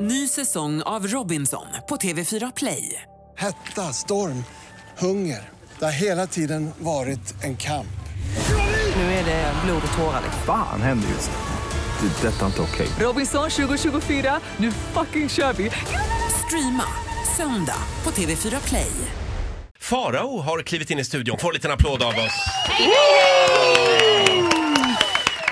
Ny säsong av Robinson på TV4 Play. Hetta, storm, hunger. Det har hela tiden varit en kamp. Nu är det blod och tårar. liksom. Fan händer just nu. Det. är Detta är inte okej. Robinson 2024, nu fucking kör vi! Streama söndag på TV4 Play. Farao har klivit in i studion. Får en liten applåd av oss.